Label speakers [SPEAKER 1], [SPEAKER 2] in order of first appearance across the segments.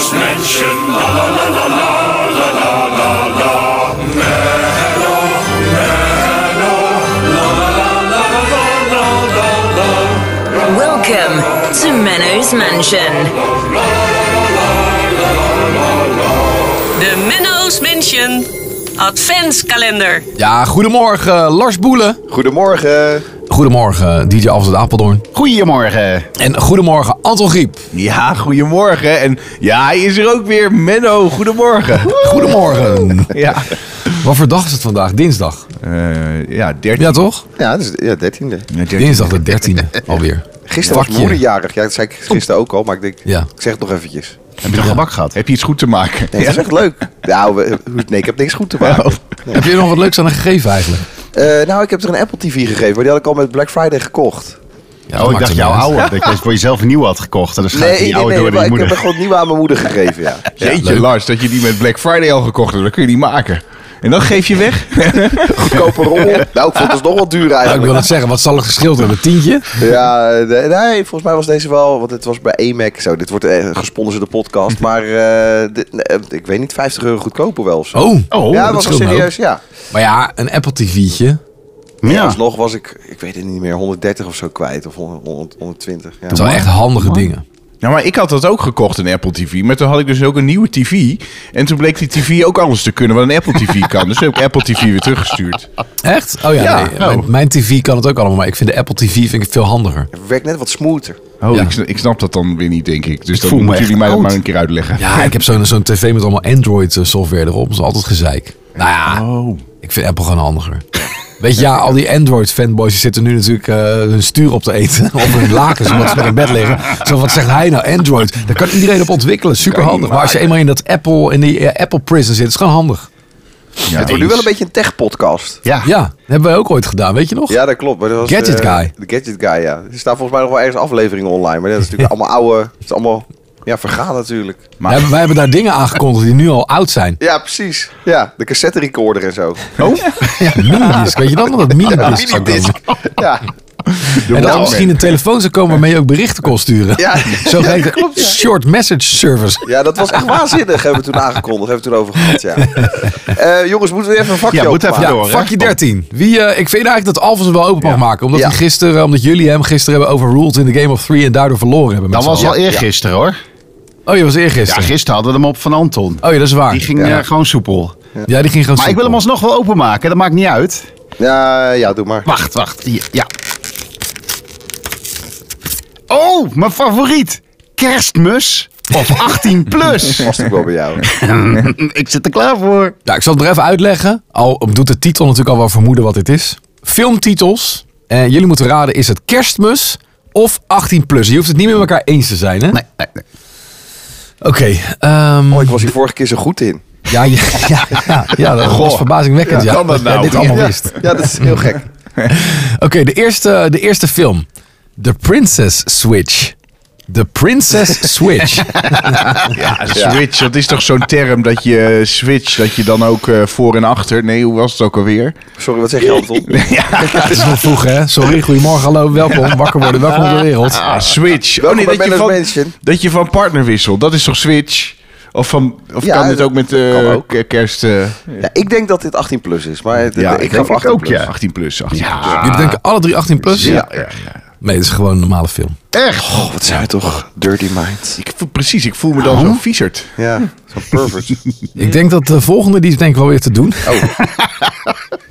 [SPEAKER 1] Revolution. La la la la la la la la la. Mellow, mellow. La la la la la la la la
[SPEAKER 2] Welcome to Menno's Mansion.
[SPEAKER 3] De Menno's Mansion Adventskalender.
[SPEAKER 4] Ja, goedemorgen Lars Boelen.
[SPEAKER 5] Goedemorgen.
[SPEAKER 4] Goedemorgen DJ Alfred Apeldoorn.
[SPEAKER 5] Goedemorgen.
[SPEAKER 4] En goedemorgen Anton Griep.
[SPEAKER 5] Ja, goedemorgen. En ja, hij is er ook weer. Menno, goedemorgen.
[SPEAKER 4] Goedemorgen.
[SPEAKER 5] Ja,
[SPEAKER 4] Wat voor dag is het vandaag? Dinsdag.
[SPEAKER 5] Eh, ja eh, 13.
[SPEAKER 4] Ja toch?
[SPEAKER 6] Ja, dat is ja, 13e.
[SPEAKER 5] Ja, 13.
[SPEAKER 4] Dinsdag de 13e alweer.
[SPEAKER 6] Gisteren was
[SPEAKER 4] Vakje.
[SPEAKER 6] mijn moeder jarig. Ja, dat zei ik gisteren ook al, maar ik denk,
[SPEAKER 4] Ja.
[SPEAKER 6] ik zeg het nog eventjes.
[SPEAKER 5] Heb je nog gebak gehad? Heb je iets goed te maken?
[SPEAKER 6] Nee, dat is echt leuk. Nou, we- nee, ik heb niks goed te maken.
[SPEAKER 4] Oh. Heb je er nog wat leuks aan gegeven eigenlijk?
[SPEAKER 6] Eh, nou, ik heb er een Apple TV gegeven, maar die had ik al met Black Friday gekocht.
[SPEAKER 4] Ja,
[SPEAKER 7] Oh,
[SPEAKER 4] dat
[SPEAKER 7] ik
[SPEAKER 4] maakt
[SPEAKER 7] dacht
[SPEAKER 4] hem
[SPEAKER 7] jouw
[SPEAKER 4] niet uit.
[SPEAKER 7] oude. Dat je voor jezelf een nieuwe had gekocht. En dan schuift
[SPEAKER 6] Nee, nee,
[SPEAKER 7] je die
[SPEAKER 6] nee,
[SPEAKER 7] oude door
[SPEAKER 6] maar
[SPEAKER 7] naar je
[SPEAKER 6] ik heb
[SPEAKER 7] moeder.
[SPEAKER 6] hem gewoon nieuw aan mijn moeder gegeven, ja.
[SPEAKER 5] Jeetje,
[SPEAKER 4] leuk.
[SPEAKER 5] Lars, dat je die met Black Friday al gekocht hebt. Dat kun je niet maken. En dan geef je weg.
[SPEAKER 6] Goedkope rommel. Nou, ik vond het nog wel duur
[SPEAKER 4] Ja, ik wil
[SPEAKER 6] eigenlijk.
[SPEAKER 4] het zeggen, wat zal het geschild hebben? Tientje?
[SPEAKER 6] Ja, nee, nee, volgens mij was deze wel, want het was bij AMAC zo. Dit wordt eh, gesponsord door de podcast, maar eh, dit- nee, eh, ik weet niet, 50 euro goedkoper wel of zo.
[SPEAKER 4] Oh,
[SPEAKER 6] ja,
[SPEAKER 4] dat
[SPEAKER 6] was wel
[SPEAKER 4] scheelt me
[SPEAKER 6] serieus, ja.
[SPEAKER 4] ook. Maar ja, een Apple TV'tje.
[SPEAKER 6] Ja.
[SPEAKER 7] Ja.
[SPEAKER 6] Alsnog was ik, ik weet het niet meer, 130 of zo kwijt. Of 100, 120. Ja.
[SPEAKER 4] Dat zijn wel echt handige dingen.
[SPEAKER 5] Nou, maar ik had dat ook gekocht, een Apple TV. Maar toen had ik dus ook een nieuwe TV. En toen bleek die TV ook alles te kunnen wat een Apple TV kan. Dus toen heb ik Apple TV weer teruggestuurd.
[SPEAKER 4] Echt? Oh ja,
[SPEAKER 5] Ja,
[SPEAKER 4] nee.
[SPEAKER 5] oh.
[SPEAKER 4] Mijn, mijn tv kan het ook allemaal, maar ik vind de Apple TV vind ik het veel handiger.
[SPEAKER 6] Het werkt net wat smoother.
[SPEAKER 5] Oh,
[SPEAKER 4] Ja.
[SPEAKER 5] ik, sn- ik snap dat dan weer niet, denk ik. Dus dat
[SPEAKER 7] voel me
[SPEAKER 5] moeten jullie mij
[SPEAKER 7] echt
[SPEAKER 5] dat
[SPEAKER 7] oud.
[SPEAKER 5] maar een keer uitleggen.
[SPEAKER 4] Ja, ik heb zo'n zo'n tv met allemaal Android eh, software erop. Dat is altijd gezeik. Nou ja, ik vind Apple gewoon handiger. Weet je, ja, al die Android-fanboys die zitten nu natuurlijk eh, hun stuur op te eten. Of hun lakens, omdat ze met in bed liggen. Zo, wat zegt hij nou? Android. Daar kan iedereen op ontwikkelen. Super handig. Maar als je eenmaal in dat Apple, in die eh, Apple prison zit, is het gewoon handig.
[SPEAKER 6] het wordt nu wel een beetje een tech-podcast.
[SPEAKER 7] Ja.
[SPEAKER 4] Ja, dat hebben wij ook ooit gedaan, weet je nog?
[SPEAKER 6] Ja, dat klopt. Maar dat was,
[SPEAKER 4] Gadget
[SPEAKER 6] eh,
[SPEAKER 4] Guy.
[SPEAKER 6] De Gadget Guy, ja. Er staan volgens mij nog wel ergens afleveringen online. Maar dat is natuurlijk allemaal oude... Het is allemaal ja, vergaan natuurlijk.
[SPEAKER 4] Wij hebben- wij hebben daar dingen aangekondigd die nu al oud zijn.
[SPEAKER 6] Ja, precies. Ja, de cassette recorder en zo.
[SPEAKER 5] Oh?
[SPEAKER 4] Ja, minidisc. Weet je dan nog dat minidisc? zou komen?
[SPEAKER 6] Minidisc. Ja.
[SPEAKER 4] En dat
[SPEAKER 6] Walkman.
[SPEAKER 4] misschien een telefoon zou komen waarmee je ook berichten kon sturen.
[SPEAKER 6] Ja.
[SPEAKER 4] Zo heet het. Short message service.
[SPEAKER 6] ja, dat was echt waanzinnig. Hebben we toen aangekondigd. Hebben we toen over gehad, ja. Eh, jongens, moeten we even een vakje
[SPEAKER 7] Ja, moet even
[SPEAKER 6] openmaken?
[SPEAKER 7] door.
[SPEAKER 4] Ja,
[SPEAKER 7] hè?
[SPEAKER 4] vakje 13. Wie, eh, ik vind eigenlijk dat Alves hem wel open mag maken. Omdat,
[SPEAKER 6] Ja.
[SPEAKER 4] hij gisteren, omdat jullie hem gisteren hebben overruled in de Game of Three en daardoor verloren hebben. met
[SPEAKER 7] Dat
[SPEAKER 4] z'n
[SPEAKER 7] was
[SPEAKER 4] allen.
[SPEAKER 7] al eergisteren hoor.
[SPEAKER 4] Oh, je was
[SPEAKER 7] Ja,
[SPEAKER 4] eergisteren.
[SPEAKER 7] gisteren hadden we hem op van Anton.
[SPEAKER 4] oh ja, dat is waar.
[SPEAKER 7] Die ging eh, gewoon soepel.
[SPEAKER 4] ja, die ging gewoon
[SPEAKER 7] Maar ik wil hem alsnog wel openmaken. Dat maakt niet uit.
[SPEAKER 6] Ja, ja, doe maar.
[SPEAKER 7] Wacht, wacht. Hier, ja. Oh, mijn favoriet. Kerstmus of 18 plus.
[SPEAKER 6] Past ook wel bij jou.
[SPEAKER 7] ik zit er klaar voor.
[SPEAKER 4] Ja, ik zal het er even uitleggen. Al doet de titel natuurlijk al wel vermoeden wat dit is. Filmtitels. En jullie moeten raden, is het kerstmis of 18 plus? Je hoeft het niet met elkaar eens te zijn, hè?
[SPEAKER 7] Nee, nee, nee.
[SPEAKER 4] Oké. ehm,
[SPEAKER 6] Oh, ik was hier vorige keer zo goed in.
[SPEAKER 4] ja, ja, ja, ja, ja, dat was verbazingwekkend. Ja,
[SPEAKER 5] kan dat
[SPEAKER 4] Ja,
[SPEAKER 5] nou?
[SPEAKER 4] dit allemaal
[SPEAKER 6] ja,
[SPEAKER 4] wist.
[SPEAKER 6] ja, dat is heel gek.
[SPEAKER 4] Oké, de, eerste, de eerste film. The Princess Switch. The Princess Switch.
[SPEAKER 5] Ja, switch, dat is toch zo'n term dat je eh, switch, dat je dan ook eh, voor en achter. Nee, hoe was het ook alweer?
[SPEAKER 6] Sorry, wat zeg je, Anton?
[SPEAKER 4] Het is nog vroeg, hè? Sorry, goedemorgen, hallo, welkom. Wakker worden, welkom op de wereld.
[SPEAKER 5] Ah, switch.
[SPEAKER 6] Welkom bij
[SPEAKER 5] dat je,
[SPEAKER 6] Menno's
[SPEAKER 5] van,
[SPEAKER 6] Mansion.
[SPEAKER 5] dat je van partner wisselt. Dat is toch switch? Of, van, of
[SPEAKER 6] Ja,
[SPEAKER 5] kan dit
[SPEAKER 6] dat
[SPEAKER 5] ook met eh,
[SPEAKER 6] kan ook.
[SPEAKER 5] ke- kerst? eh,
[SPEAKER 6] Ja, ik denk dat dit 18 plus is, maar het-
[SPEAKER 5] ja,
[SPEAKER 6] ik
[SPEAKER 5] ik
[SPEAKER 6] ga
[SPEAKER 5] denk
[SPEAKER 6] voor
[SPEAKER 5] het
[SPEAKER 6] 18
[SPEAKER 5] ook,
[SPEAKER 6] plus.
[SPEAKER 5] ja. 18 plus, 18 plus.
[SPEAKER 4] Jullie denken alle drie 18 plus?
[SPEAKER 5] Ja, ja, ja.
[SPEAKER 4] Nee, het is gewoon een normale film.
[SPEAKER 7] Echt?
[SPEAKER 6] Oh, wat zijn we toch dirty minds.
[SPEAKER 5] Ik voel, precies, ik voel me dan zo viezerd.
[SPEAKER 6] Ja, zo'n pervert.
[SPEAKER 4] Ik denk dat de volgende, die is denk ik wel weer te doen.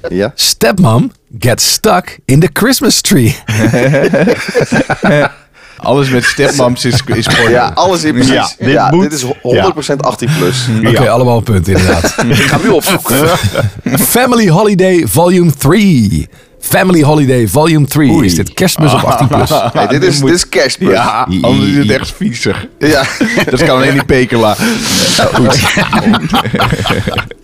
[SPEAKER 6] Ja.
[SPEAKER 4] Stepmom gets stuck in the Christmas tree.
[SPEAKER 5] Alles met stepmams is, is porno.
[SPEAKER 6] ja, alles in precies. Ja,
[SPEAKER 7] Ja,
[SPEAKER 6] dit,
[SPEAKER 7] dit moet-
[SPEAKER 6] is ho- 100% 18 plus.
[SPEAKER 4] Oké, allemaal een punt inderdaad.
[SPEAKER 6] Ik ga hem nu opzoeken.
[SPEAKER 4] Family Holiday Volume 3. Family Holiday Volume 3. Is dit kerstmis op 18 plus?
[SPEAKER 6] Nee, dit, is, dit is kerstmis. Ja.
[SPEAKER 5] Ja, anders is het echt viezig. Dat kan alleen die pekela.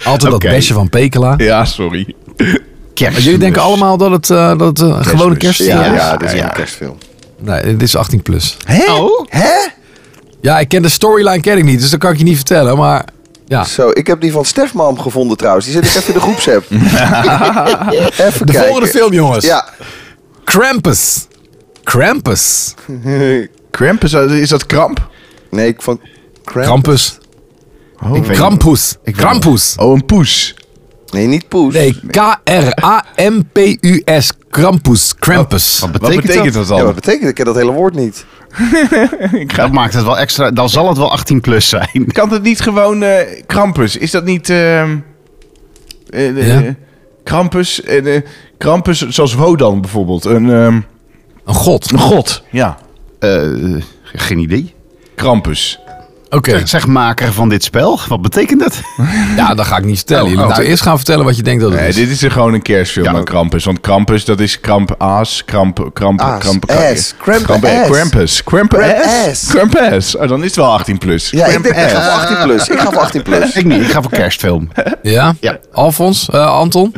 [SPEAKER 4] Altijd dat
[SPEAKER 5] Oké.
[SPEAKER 4] besje van Pekela.
[SPEAKER 5] Ja, sorry.
[SPEAKER 4] Maar
[SPEAKER 7] Kerstmus.
[SPEAKER 4] jullie denken allemaal dat het, eh, dat het een gewone kerst is?
[SPEAKER 6] Ja,
[SPEAKER 7] Ja,
[SPEAKER 6] ja, dit is
[SPEAKER 7] ja.
[SPEAKER 6] een kerstfilm.
[SPEAKER 4] Nee, dit is 18 plus.
[SPEAKER 7] Hè? Oh?
[SPEAKER 4] Ja, ik ken de storyline ken ik niet, dus dat kan ik je niet vertellen. Maar ja,
[SPEAKER 6] Zo, ik heb die van Stefmam gevonden trouwens. Die zit ik even in de groepsapp. even
[SPEAKER 4] de
[SPEAKER 6] kijken.
[SPEAKER 4] volgende film, jongens.
[SPEAKER 6] Ja.
[SPEAKER 4] Krampus. Krampus.
[SPEAKER 5] Krampus, is dat kramp?
[SPEAKER 6] Nee, ik van... Krampus.
[SPEAKER 4] Krampus.
[SPEAKER 7] Ik weet
[SPEAKER 4] Krampus.
[SPEAKER 7] Ik weet-
[SPEAKER 4] Krampus.
[SPEAKER 5] Oh, een poes.
[SPEAKER 6] Nee, niet poes.
[SPEAKER 4] Nee, K-R-A-M-P-U-S. Krampus. Krampus.
[SPEAKER 7] Wat
[SPEAKER 5] Wat
[SPEAKER 7] betekent,
[SPEAKER 5] betekent dat
[SPEAKER 7] dat?
[SPEAKER 6] Ja,
[SPEAKER 5] dan?
[SPEAKER 6] wat betekent dat? Ik ken dat hele woord niet.
[SPEAKER 7] Dat maakt het wel extra. Dan zal het wel 18 plus zijn.
[SPEAKER 5] Kan het niet gewoon eh, Krampus? Is dat niet... ehm, eh, eh,
[SPEAKER 4] Ja.
[SPEAKER 5] Krampus, eh, eh, Krampus zoals Wodan bijvoorbeeld. Een, ehm,
[SPEAKER 4] Een god.
[SPEAKER 5] een god, ja.
[SPEAKER 7] Eh, geen idee.
[SPEAKER 5] Krampus.
[SPEAKER 4] Oké.
[SPEAKER 7] Zeg maker van dit spel. Wat betekent dat?
[SPEAKER 4] Ja, dat ga ik niet vertellen. Je
[SPEAKER 7] Oh,
[SPEAKER 4] moet
[SPEAKER 7] oh.
[SPEAKER 4] nou eerst gaan vertellen wat je denkt dat het
[SPEAKER 5] Nee,
[SPEAKER 4] is.
[SPEAKER 5] Eh, dit is er gewoon een kerstfilm
[SPEAKER 7] Ja.
[SPEAKER 5] aan Krampus. Want Krampus, dat is kramp aas, kramp, kramp,
[SPEAKER 6] Aas,
[SPEAKER 5] kramp,
[SPEAKER 6] ass, kramp ass.
[SPEAKER 5] Krampus, kramp
[SPEAKER 6] Kramp
[SPEAKER 5] ass,
[SPEAKER 6] ass.
[SPEAKER 5] kramp ass. Oh, dan is het wel 18 plus.
[SPEAKER 6] Ja, ik, denk, ik ga
[SPEAKER 7] ass.
[SPEAKER 6] voor 18 plus. Ik ga voor 18 plus.
[SPEAKER 7] Ik niet. Ik ga voor kerstfilm.
[SPEAKER 4] Ja?
[SPEAKER 7] Ja.
[SPEAKER 4] Alfons? eh, Anton?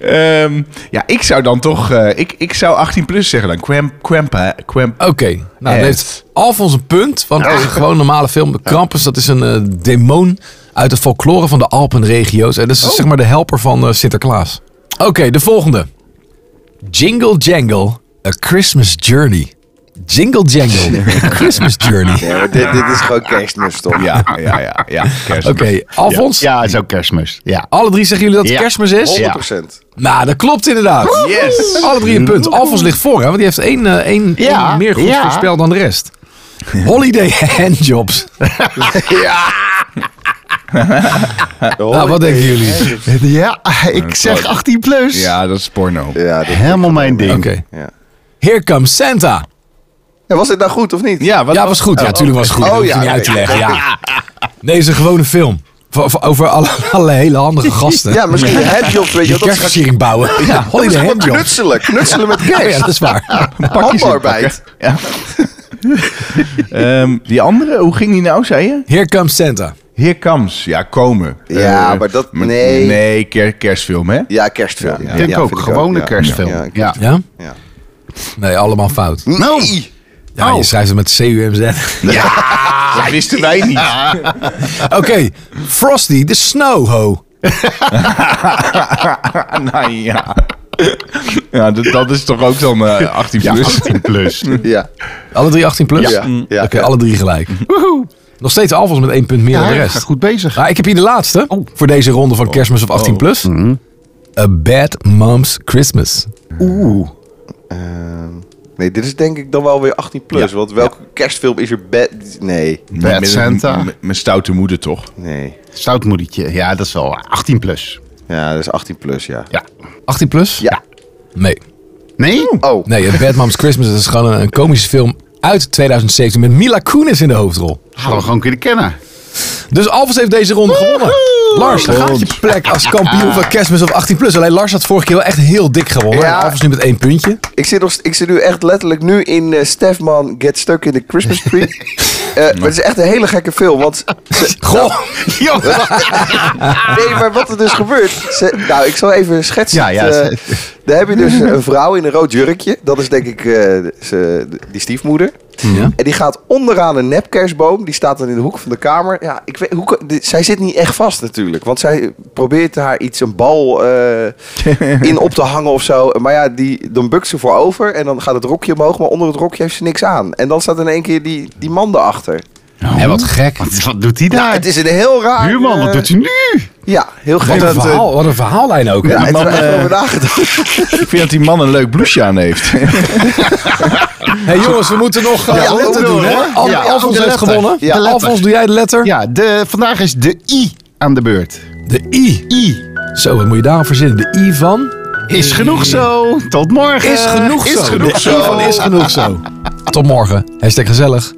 [SPEAKER 5] Ehm, ja, ik zou dan toch, eh, ik, ik zou 18 plus zeggen dan. Kramp, kramp, eh, kramp.
[SPEAKER 4] Oké. Nou, dan
[SPEAKER 5] Echt.
[SPEAKER 4] heeft Alfons een punt. Want
[SPEAKER 7] Oh.
[SPEAKER 4] het is een gewoon normale film. Krampus, dat is een eh, demon uit de folklore van de Alpenregio's. En dat
[SPEAKER 7] Oh.
[SPEAKER 4] is dus, zeg maar de helper van eh, Sinterklaas. Oké, de volgende. Jingle Jangle, A Christmas Journey. Jingle Jangle, A Christmas Journey.
[SPEAKER 6] Ja, maar dit, dit is gewoon kerstmis, toch?
[SPEAKER 5] Ja, ja, ja, ja. kerst.
[SPEAKER 4] Oké, Alfons.
[SPEAKER 7] Ja, het is ook kerstmis. Ja.
[SPEAKER 4] Alle drie zeggen jullie dat het
[SPEAKER 7] Ja.
[SPEAKER 4] kerstmis is?
[SPEAKER 6] 100%.
[SPEAKER 4] Nou, dat klopt inderdaad.
[SPEAKER 5] Yes.
[SPEAKER 4] Alle drie een punt. Alfons ligt voor, hè? Want die heeft één, eh, één,
[SPEAKER 7] Ja,
[SPEAKER 4] één meer goed
[SPEAKER 7] ja.
[SPEAKER 4] voorspel dan de rest. Holiday handjobs. Nou, wat denken jullie?
[SPEAKER 7] Ja, ik zeg 18 plus.
[SPEAKER 5] Ja, dat is porno.
[SPEAKER 6] Ja, dit-
[SPEAKER 7] Helemaal mijn ding.
[SPEAKER 4] Oké.
[SPEAKER 6] ja.
[SPEAKER 4] Here comes Santa.
[SPEAKER 6] Ja, was dit nou goed of niet?
[SPEAKER 5] Ja, wat
[SPEAKER 4] Ja, was goed. Ja, natuurlijk was het goed.
[SPEAKER 6] Oh,
[SPEAKER 4] Dat hoef je
[SPEAKER 6] ja,
[SPEAKER 4] niet uit te
[SPEAKER 6] nee.
[SPEAKER 4] leggen. Ja. Nee, is een gewone film. Van- van- Over alle, alle hele handige gasten.
[SPEAKER 6] Ja, misschien een handjob, weet je
[SPEAKER 4] Die
[SPEAKER 6] wel. Dat is gewoon-
[SPEAKER 4] kerstversiering bouwen. Ja,
[SPEAKER 6] dat is
[SPEAKER 4] holiday
[SPEAKER 6] gewoon
[SPEAKER 4] handjobs.
[SPEAKER 6] knutselen. Knutselen met
[SPEAKER 4] Oh, ja,
[SPEAKER 6] kerst.
[SPEAKER 4] dat is waar.
[SPEAKER 6] Handarbeid.
[SPEAKER 5] Ehm, die andere, hoe ging die nou, zei je?
[SPEAKER 4] Here comes Santa.
[SPEAKER 5] Here comes. Ja, komen.
[SPEAKER 6] Ja,
[SPEAKER 5] Eh,
[SPEAKER 6] maar dat-
[SPEAKER 5] maar-
[SPEAKER 6] nee.
[SPEAKER 5] Nee, ker- kerstfilm, hè?
[SPEAKER 6] Ja, kerstfilm.
[SPEAKER 5] Ja,
[SPEAKER 6] Ja,
[SPEAKER 7] Ik denk
[SPEAKER 6] ja,
[SPEAKER 7] ook.
[SPEAKER 6] vind
[SPEAKER 7] Gewone
[SPEAKER 6] ja.
[SPEAKER 7] kerstfilm.
[SPEAKER 6] Ja,
[SPEAKER 7] Ja,
[SPEAKER 6] ja,
[SPEAKER 4] Ja?
[SPEAKER 6] Ja.
[SPEAKER 4] Nee, allemaal fout.
[SPEAKER 7] Nou,
[SPEAKER 6] Nee!
[SPEAKER 4] Ja,
[SPEAKER 6] Oh.
[SPEAKER 4] je schrijft het met C-U-M-Z.
[SPEAKER 5] Dat wisten wij niet.
[SPEAKER 4] Oké, Frosty de Snowho.
[SPEAKER 5] nou ja. Ja, dat, dat is toch ook dan eh 18
[SPEAKER 7] Ja,
[SPEAKER 5] plus.
[SPEAKER 7] 18 plus.
[SPEAKER 6] Ja.
[SPEAKER 4] Alle drie 18 plus?
[SPEAKER 6] Ja.
[SPEAKER 7] Mm.
[SPEAKER 4] Oké,
[SPEAKER 6] Ja.
[SPEAKER 4] alle drie gelijk. Nog steeds Alfons met één punt meer dan de
[SPEAKER 7] Ja,
[SPEAKER 4] rest.
[SPEAKER 7] goed bezig. Oh.
[SPEAKER 4] Maar ik heb hier de laatste voor deze ronde
[SPEAKER 6] Oh.
[SPEAKER 4] van Kerstmis of 18 plus.
[SPEAKER 6] Mm -hmm.
[SPEAKER 4] A Bad Mom's Christmas.
[SPEAKER 6] Ehm, nee, dit is denk ik dan wel weer 18 plus. Want welke kerstfilm is er bed? Nee.
[SPEAKER 7] Bad
[SPEAKER 5] Met-
[SPEAKER 7] Santa.
[SPEAKER 5] met- Mijn stoute moeder toch?
[SPEAKER 6] Nee.
[SPEAKER 7] Stoutmoedertje. Ja, dat is wel 18 plus.
[SPEAKER 6] Ja, dat is 18 plus, ja.
[SPEAKER 7] Ja.
[SPEAKER 4] 18 plus?
[SPEAKER 6] Ja.
[SPEAKER 4] Nee.
[SPEAKER 7] Nee?
[SPEAKER 6] Oh.
[SPEAKER 4] Nee, A Bad Mom's Christmas dat is gewoon een, een komische film uit 2017 met Mila Kunis in de hoofdrol.
[SPEAKER 7] Hadden we gewoon kunnen kennen.
[SPEAKER 4] Dus Alfons heeft deze ronde gewonnen. Lars, daar gaat je plek als kampioen van Kerstmis of 18 plus. Alleen Lars had vorige keer wel echt heel dik gewonnen.
[SPEAKER 6] Ja.
[SPEAKER 4] En Alfons nu met één puntje.
[SPEAKER 6] Ik zit, nog, ik zit nu echt letterlijk nu in eh, Stefman Get Stuck in the Christmas Tree. Eh, maar het is echt een hele gekke film. Want ze-
[SPEAKER 4] Goh.
[SPEAKER 6] nee, maar wat er dus gebeurt. Ze, nou, ik zal even schetsen.
[SPEAKER 7] Ja, ja,
[SPEAKER 6] Eh,
[SPEAKER 7] ze-
[SPEAKER 6] daar heb je dus een vrouw in een rood jurkje. Dat is denk ik eh, ze, die stiefmoeder.
[SPEAKER 4] Ja.
[SPEAKER 6] En die gaat onderaan een nepkerstboom. Die staat dan in de hoek van de kamer. Ja, ik weet, hoe, kan- dit- zij zit niet echt vast natuurlijk. Want zij probeert haar iets, een bal eh, in op te hangen of zo. Maar ja, die, dan bukt ze voor over. En dan gaat het rokje omhoog. Maar onder het rokje heeft ze niks aan. En dan staat in één keer die, die man erachter. Oh.
[SPEAKER 4] En wat gek.
[SPEAKER 7] Wat, wat doet hij daar?
[SPEAKER 6] Het is een heel raar...
[SPEAKER 7] Buurman,
[SPEAKER 6] eh,
[SPEAKER 7] wat Ah, doet hij nu?
[SPEAKER 6] Ja, heel gek.
[SPEAKER 4] Wat een,
[SPEAKER 5] dat, eh,
[SPEAKER 4] verhaal, wat een verhaallijn ook. hè?
[SPEAKER 6] Ja,
[SPEAKER 5] die
[SPEAKER 6] ik
[SPEAKER 5] man,
[SPEAKER 6] heb er echt
[SPEAKER 5] eh,
[SPEAKER 6] over nagedacht.
[SPEAKER 5] Ik vind dat die man een leuk blouseje aan heeft.
[SPEAKER 4] hey, jongens, we moeten nog eh,
[SPEAKER 7] Ja,
[SPEAKER 4] de letter
[SPEAKER 7] letter
[SPEAKER 4] doen. Hè?
[SPEAKER 7] doen,
[SPEAKER 4] Al-
[SPEAKER 7] hè? Ja, ook
[SPEAKER 4] Alfons
[SPEAKER 7] de
[SPEAKER 4] heeft
[SPEAKER 7] letter.
[SPEAKER 4] gewonnen.
[SPEAKER 7] Ja, de letter.
[SPEAKER 4] Alfons, doe jij de letter?
[SPEAKER 7] Ja, de, vandaag is de I aan de beurt.
[SPEAKER 4] De I.
[SPEAKER 7] I
[SPEAKER 4] Zo, wat moet je daarop verzinnen? De I van?
[SPEAKER 7] is genoeg zo. Tot morgen.
[SPEAKER 4] Is genoeg zo.
[SPEAKER 7] Is genoeg
[SPEAKER 4] de
[SPEAKER 7] zo.
[SPEAKER 4] I van is genoeg zo. Tot morgen. Hashtag gezellig.